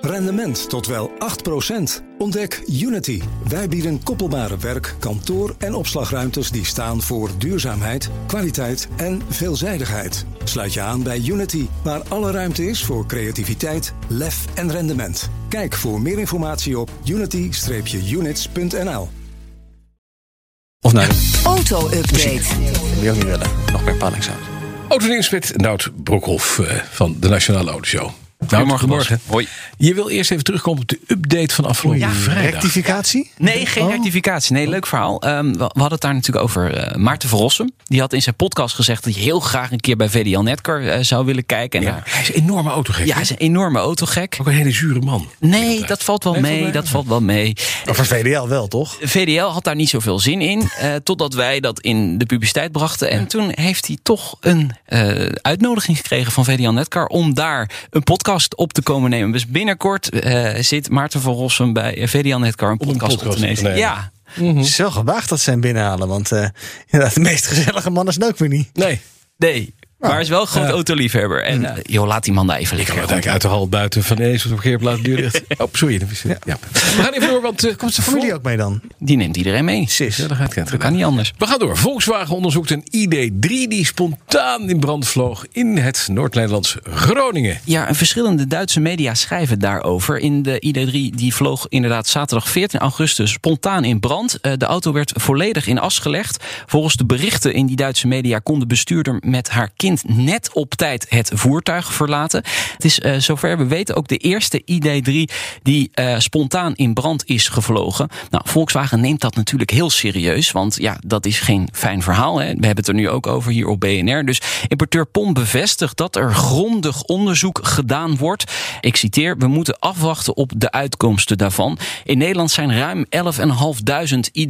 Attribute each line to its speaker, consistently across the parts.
Speaker 1: Rendement tot wel 8%. Ontdek Unity. Wij bieden koppelbare werk, kantoor en opslagruimtes die staan voor duurzaamheid, kwaliteit en veelzijdigheid. Sluit je aan bij Unity, waar alle ruimte is voor creativiteit, lef en rendement. Kijk voor meer informatie op unity-units.nl.
Speaker 2: Of nou, dat
Speaker 3: Auto-update.
Speaker 2: moet je ook niet willen. Nog meer paniekzout.
Speaker 4: Autonieuws met Nout Brokhoff eh, van de Nationale Autoshow. Nou, goedemorgen.
Speaker 2: Hoi.
Speaker 4: Je wil eerst even terugkomen op de update van afgelopen vrijdag.
Speaker 5: Rectificatie?
Speaker 2: Nee, geen
Speaker 4: Oh.
Speaker 2: rectificatie. Nee, leuk verhaal. Ehm, we, we hadden het daar natuurlijk over eh, Maarten Verrossen. Die had in zijn podcast gezegd dat hij heel graag een keer bij VDL Netcar eh, zou willen kijken. En
Speaker 4: Ja,
Speaker 2: daar-
Speaker 4: hij is een enorme autogek.
Speaker 2: ja,
Speaker 4: Ja,
Speaker 2: hij is een enorme autogek.
Speaker 4: Ook een hele zure man.
Speaker 2: Nee, dat valt wel
Speaker 4: Nee, valt
Speaker 2: mee.
Speaker 4: mee?
Speaker 2: Dat valt wel mee.
Speaker 5: Of voor VDL wel, toch?
Speaker 2: VDL had daar niet zoveel zin in. eh, totdat wij dat in de publiciteit brachten. En toen heeft hij toch een eh, uitnodiging gekregen van VDL Netcar. om daar een podcast op te komen nemen. Dus binnenkort eh, zit Maarten van Rossum bij eh, VDL Netcar een podcast, op
Speaker 4: podcast
Speaker 2: te
Speaker 4: te
Speaker 2: nemen.
Speaker 4: nemen.
Speaker 2: Ja,
Speaker 5: Het is wel gewaagd dat ze hem binnenhalen. Want eh, inderdaad, de meest gezellige man is het ook weer niet.
Speaker 4: Nee.
Speaker 2: nee. Maar hij is wel een groot autoliefhebber. En eh, joh, laat die man daar even
Speaker 4: Ik
Speaker 2: liggen.
Speaker 4: had eigenlijk uit de hal buiten van eens op Geert laten duur dicht. Oh, sorry. dat is- ja. We gaan even door, want eh, komt de
Speaker 5: Familie ook mee dan?
Speaker 2: Die neemt iedereen mee.
Speaker 5: Precies.
Speaker 4: Ja, dat gaat het
Speaker 2: Dat kan niet anders.
Speaker 4: We gaan door. Volkswagen onderzoekt een ID3 die spontaan in brand vloog in het Noord-Nederlands Groningen.
Speaker 2: Ja, en verschillende Duitse media schrijven daarover. In de ID3 die vloog inderdaad zaterdag 14 augustus spontaan in brand. Eh, De auto werd volledig in as gelegd. Volgens de berichten in die Duitse media kon de bestuurder met haar kind net op tijd het voertuig verlaten. Het is eh, zover we weten ook de eerste ID3 die eh, spontaan in brand is gevlogen. Nou, Volkswagen neemt dat natuurlijk heel serieus, want ja, dat is geen fijn verhaal. Hè. We hebben het er nu ook over hier op BNR. Dus importeur Pom bevestigt dat er grondig onderzoek gedaan wordt. Ik citeer, we moeten afwachten op de uitkomsten daarvan. In Nederland zijn ruim 11.500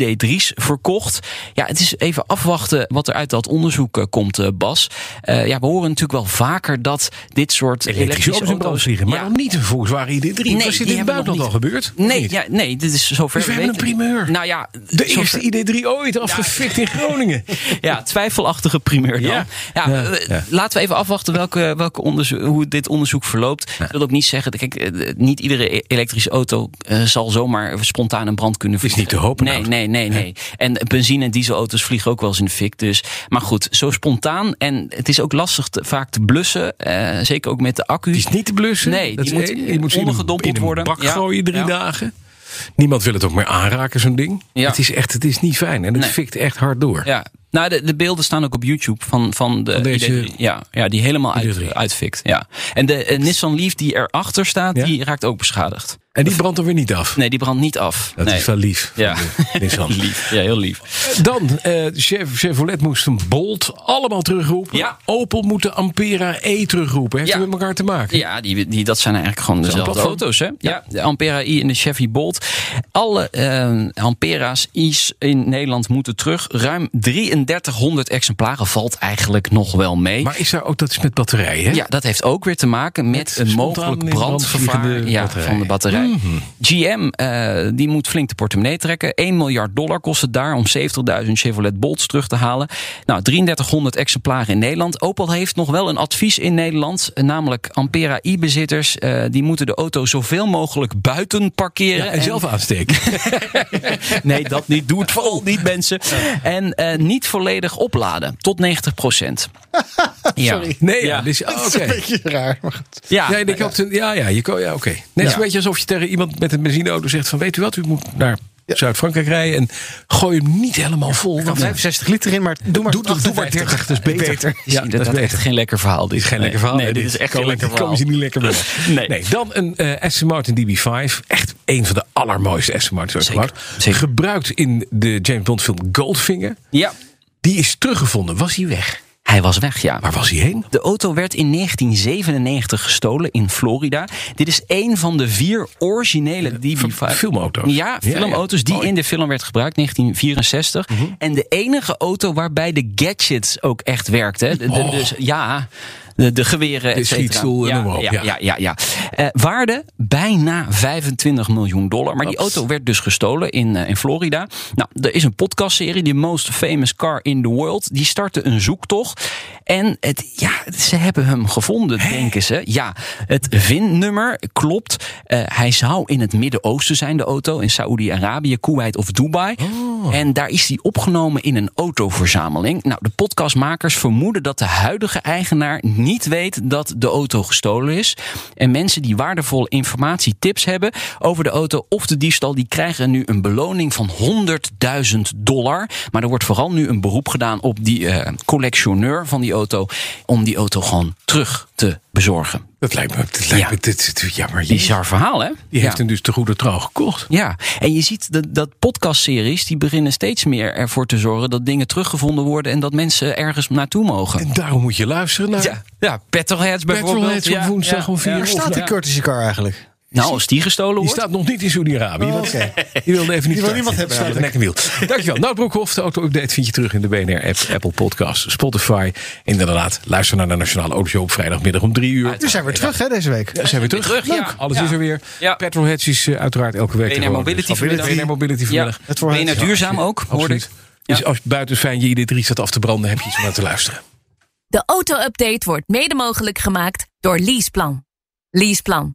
Speaker 2: ID3's verkocht. Ja, het is even afwachten wat er uit dat onderzoek eh, komt, eh, Bas. Eh, ja, we horen natuurlijk wel vaker dat dit soort elektrische,
Speaker 4: auto's in brand
Speaker 2: auto's-
Speaker 4: vliegen, maar
Speaker 2: Ja.
Speaker 4: nog niet een Volkswagen ID3.
Speaker 2: Nee,
Speaker 4: Was
Speaker 2: die
Speaker 4: dit in het
Speaker 2: hebben we nog
Speaker 4: buitenland al
Speaker 2: niet.
Speaker 4: gebeurd?
Speaker 2: Nee,
Speaker 4: Niet.
Speaker 2: ja, nee, dit is zover.
Speaker 4: Dus we hebben
Speaker 2: weten.
Speaker 4: een primeur.
Speaker 2: Nou ja,
Speaker 4: De
Speaker 2: zover-
Speaker 4: eerste ID3 ooit afgefikt in Groningen.
Speaker 2: Ja, twijfelachtige primeur dan. Ja.
Speaker 4: Ja.
Speaker 2: eh, Laten we even afwachten welke, welke onderzo- hoe dit onderzoek verloopt. Dat wil ook niet zeggen, kijk, eh, niet iedere e- elektrische auto eh, zal zomaar spontaan een brand kunnen vliegen.
Speaker 4: niet te hopen,
Speaker 2: Nee,
Speaker 4: nou.
Speaker 2: nee, nee, nee. En benzine- en dieselauto's vliegen ook wel eens in de fik. Dus. Maar goed, zo spontaan. En het is ook lastig te- vaak te blussen. eh, zeker ook met de accu.
Speaker 4: Die is niet te blussen.
Speaker 2: Nee,
Speaker 4: Dat
Speaker 2: die
Speaker 4: is
Speaker 2: moet
Speaker 4: één. Je moet ze in een-
Speaker 2: ondergedompeld
Speaker 4: in een
Speaker 2: worden.
Speaker 4: bak
Speaker 2: Ja.
Speaker 4: gooien drie
Speaker 2: Ja.
Speaker 4: dagen. Niemand wil het ook meer aanraken, zo'n ding.
Speaker 2: Ja.
Speaker 4: Het, is echt, het is niet fijn en het
Speaker 2: Nee.
Speaker 4: fikt echt hard door.
Speaker 2: Ja. Nou, de, de beelden staan ook op YouTube van, van de
Speaker 4: Van deze-
Speaker 2: ID3. ja, ja, die helemaal uit,
Speaker 4: ID3.
Speaker 2: uitfikt. Ja. En de eh, Nissan Leaf die erachter staat,
Speaker 4: Ja?
Speaker 2: die raakt ook beschadigd.
Speaker 4: En die brandt er weer niet af.
Speaker 2: Nee, die brandt niet af.
Speaker 4: Dat
Speaker 2: nee.
Speaker 4: is wel lief. van
Speaker 2: Ja.
Speaker 4: de Nissan.
Speaker 2: lief. Ja, heel lief.
Speaker 4: Dan, eh, Chev- Chevrolet moest een Bolt allemaal terugroepen.
Speaker 2: Ja.
Speaker 4: Opel moet de Ampera E terugroepen. Heeft
Speaker 2: Ja.
Speaker 4: het met elkaar te maken?
Speaker 2: Ja, die, die, dat zijn eigenlijk gewoon dezelfde
Speaker 4: platform.
Speaker 2: auto's. Hè? Ja. de Ampera i en de Chevy Bolt. Alle eh, Ampera's i's in Nederland moeten terug. Ruim 3300 exemplaren valt eigenlijk nog wel mee.
Speaker 4: Maar is daar ook, dat is met batterijen, hè?
Speaker 2: Ja, dat heeft ook weer te maken met een
Speaker 4: spontaan
Speaker 2: mogelijk
Speaker 4: in brand
Speaker 2: brandgevaar
Speaker 4: vliegende
Speaker 2: ja,
Speaker 4: batterij.
Speaker 2: van de batterij. Mhm. GM eh, die moet flink de portemonnee trekken. 1 miljard dollar kost het daar om 70.000 Chevrolet Bolts terug te halen. Nou, 3300 exemplaren in Nederland. Opel heeft nog wel een advies in Nederland. eh, Namelijk Ampera i-bezitters. eh, die moeten de auto zoveel mogelijk buiten parkeren.
Speaker 4: Ja, en zelf aansteken.
Speaker 2: Nee, dat niet. Doe het vooral niet, mensen. En eh, niet volledig opladen. Tot 90 procent. Sorry.
Speaker 4: Nee, ja. Dus, oh,
Speaker 5: Dat
Speaker 4: oké.
Speaker 5: is een beetje raar. Maar goed.
Speaker 2: Ja,
Speaker 4: Ja, en ik had een- ja, ja, je kon- ja oké. Net
Speaker 2: Ja.
Speaker 4: een beetje alsof je tegen iemand met een benzineauto zegt van... weet u wat, u moet naar Zuid-Frankrijk rijden... en gooi hem niet helemaal vol.
Speaker 5: Kan
Speaker 4: Want,
Speaker 5: 65 liter in, maar doe maar,
Speaker 4: doe, doe, doe maar 30, dat is beter.
Speaker 2: is
Speaker 4: Ja, dat is
Speaker 2: inderdaad
Speaker 4: beter.
Speaker 2: echt geen lekker verhaal. Dit is
Speaker 4: Geen lekker verhaal.
Speaker 2: Nee,
Speaker 4: hè,
Speaker 2: dit is echt geen lekker
Speaker 4: Komen-
Speaker 2: verhaal.
Speaker 4: Komen ze niet lekker bij.
Speaker 2: Nee.
Speaker 4: Dan een eh Aston Martin DB5. Echt een van de allermooiste Aston Martins ooit
Speaker 2: Zeker,
Speaker 4: gemaakt.
Speaker 2: zeker.
Speaker 4: Gebruikt in de James Bond film Goldfinger.
Speaker 2: Ja,
Speaker 4: Die is teruggevonden. Was hij weg?
Speaker 2: hij was weg, ja.
Speaker 4: Waar was hij heen?
Speaker 2: De auto werd in 1997 gestolen in Florida. Dit is één van de vier originele DB5.
Speaker 4: filmauto's.
Speaker 2: Ja, Mhm.
Speaker 4: Ja, ja.
Speaker 2: filmauto's die
Speaker 4: Mooi.
Speaker 2: in de film werd gebruikt, 1964. En de enige auto waarbij de gadgets ook echt werkten. hè. De- de-
Speaker 4: Oh.
Speaker 2: Dus ja, de, de geweren, et cetera.
Speaker 4: schietstoel en
Speaker 2: ja,
Speaker 4: noem maar op,
Speaker 2: Ja,
Speaker 4: ja.
Speaker 2: ja. ja, ja. Eh, waarde bijna 25 miljoen dollar. Maar die auto werd dus gestolen in, eh, in Florida. Nou, er is een podcastserie, The Most Famous Car in the World. Die startte een zoektocht. En het, ja, ze hebben hem gevonden, denken ze. Ja, het VIN-nummer klopt. Eh, hij zou in het Midden-Oosten zijn, de auto. In Saoedi-Arabië, Kuwait of Dubai.
Speaker 4: Oh.
Speaker 2: En daar is hij opgenomen in een autoverzameling. Nou, de podcastmakers vermoeden dat de huidige eigenaar niet weet dat de auto gestolen is. En mensen die waardevolle informatie, tips hebben over de auto of de diefstal, die krijgen nu een beloning van 100.000 dollar. Maar er wordt vooral nu een beroep gedaan op die eh, collectioneur van die auto om die auto gewoon terug te bezorgen.
Speaker 4: Dat lijkt me. Dat lijkt
Speaker 2: Ja.
Speaker 4: me dit, dit, ja, maar die,
Speaker 2: Bizar verhaal, hè?
Speaker 4: die heeft
Speaker 2: Ja.
Speaker 4: hem dus te goede trouw gekocht.
Speaker 2: Ja, en je ziet dat, dat podcastseries die beginnen steeds meer ervoor te zorgen dat dingen teruggevonden worden en dat mensen ergens naartoe mogen.
Speaker 4: En daarom moet je luisteren naar.
Speaker 2: Ja, ja Petrolheads bijvoorbeeld.
Speaker 4: Petrolheads op
Speaker 2: Ja,
Speaker 4: woensdag om vier
Speaker 5: Waar
Speaker 4: uur.
Speaker 2: of-
Speaker 5: staat die Curtis car eigenlijk?
Speaker 2: Nou, als die gestolen
Speaker 4: Die
Speaker 2: wordt.
Speaker 4: staat nog niet in Saudi-Arabië.
Speaker 5: Oh,
Speaker 4: want
Speaker 5: oké.
Speaker 4: Die wilde even niet
Speaker 5: wil niemand hebben
Speaker 4: Staat nek en wiel. Dankjewel. Nou, Broekhoff, de auto-update vind je terug in de BNR-app, Apple Podcast, Spotify. En inderdaad, luister naar de Nationale Auto Show op vrijdagmiddag om drie uur.
Speaker 5: Nu zijn we weer terug hè, deze week.
Speaker 4: Ja, zijn we terug.
Speaker 2: Terug,
Speaker 4: Leuk.
Speaker 2: ja.
Speaker 4: Alles
Speaker 2: Ja.
Speaker 4: is er weer.
Speaker 2: Ja.
Speaker 4: Petrolheads is eh, uiteraard elke week.
Speaker 2: BNR
Speaker 4: te horen.
Speaker 2: Mobility
Speaker 4: Dus
Speaker 2: vanmiddag.
Speaker 4: BNR Mobility vanmiddag.
Speaker 2: Ja, ben je nou duurzaam ook, hoorde
Speaker 4: Absoluut.
Speaker 2: ik.
Speaker 4: Dus als buiten fijn je ID3 staat af te branden, heb je iets om naar te luisteren.
Speaker 3: De auto-update wordt mede mogelijk gemaakt door Leaseplan. Leaseplan.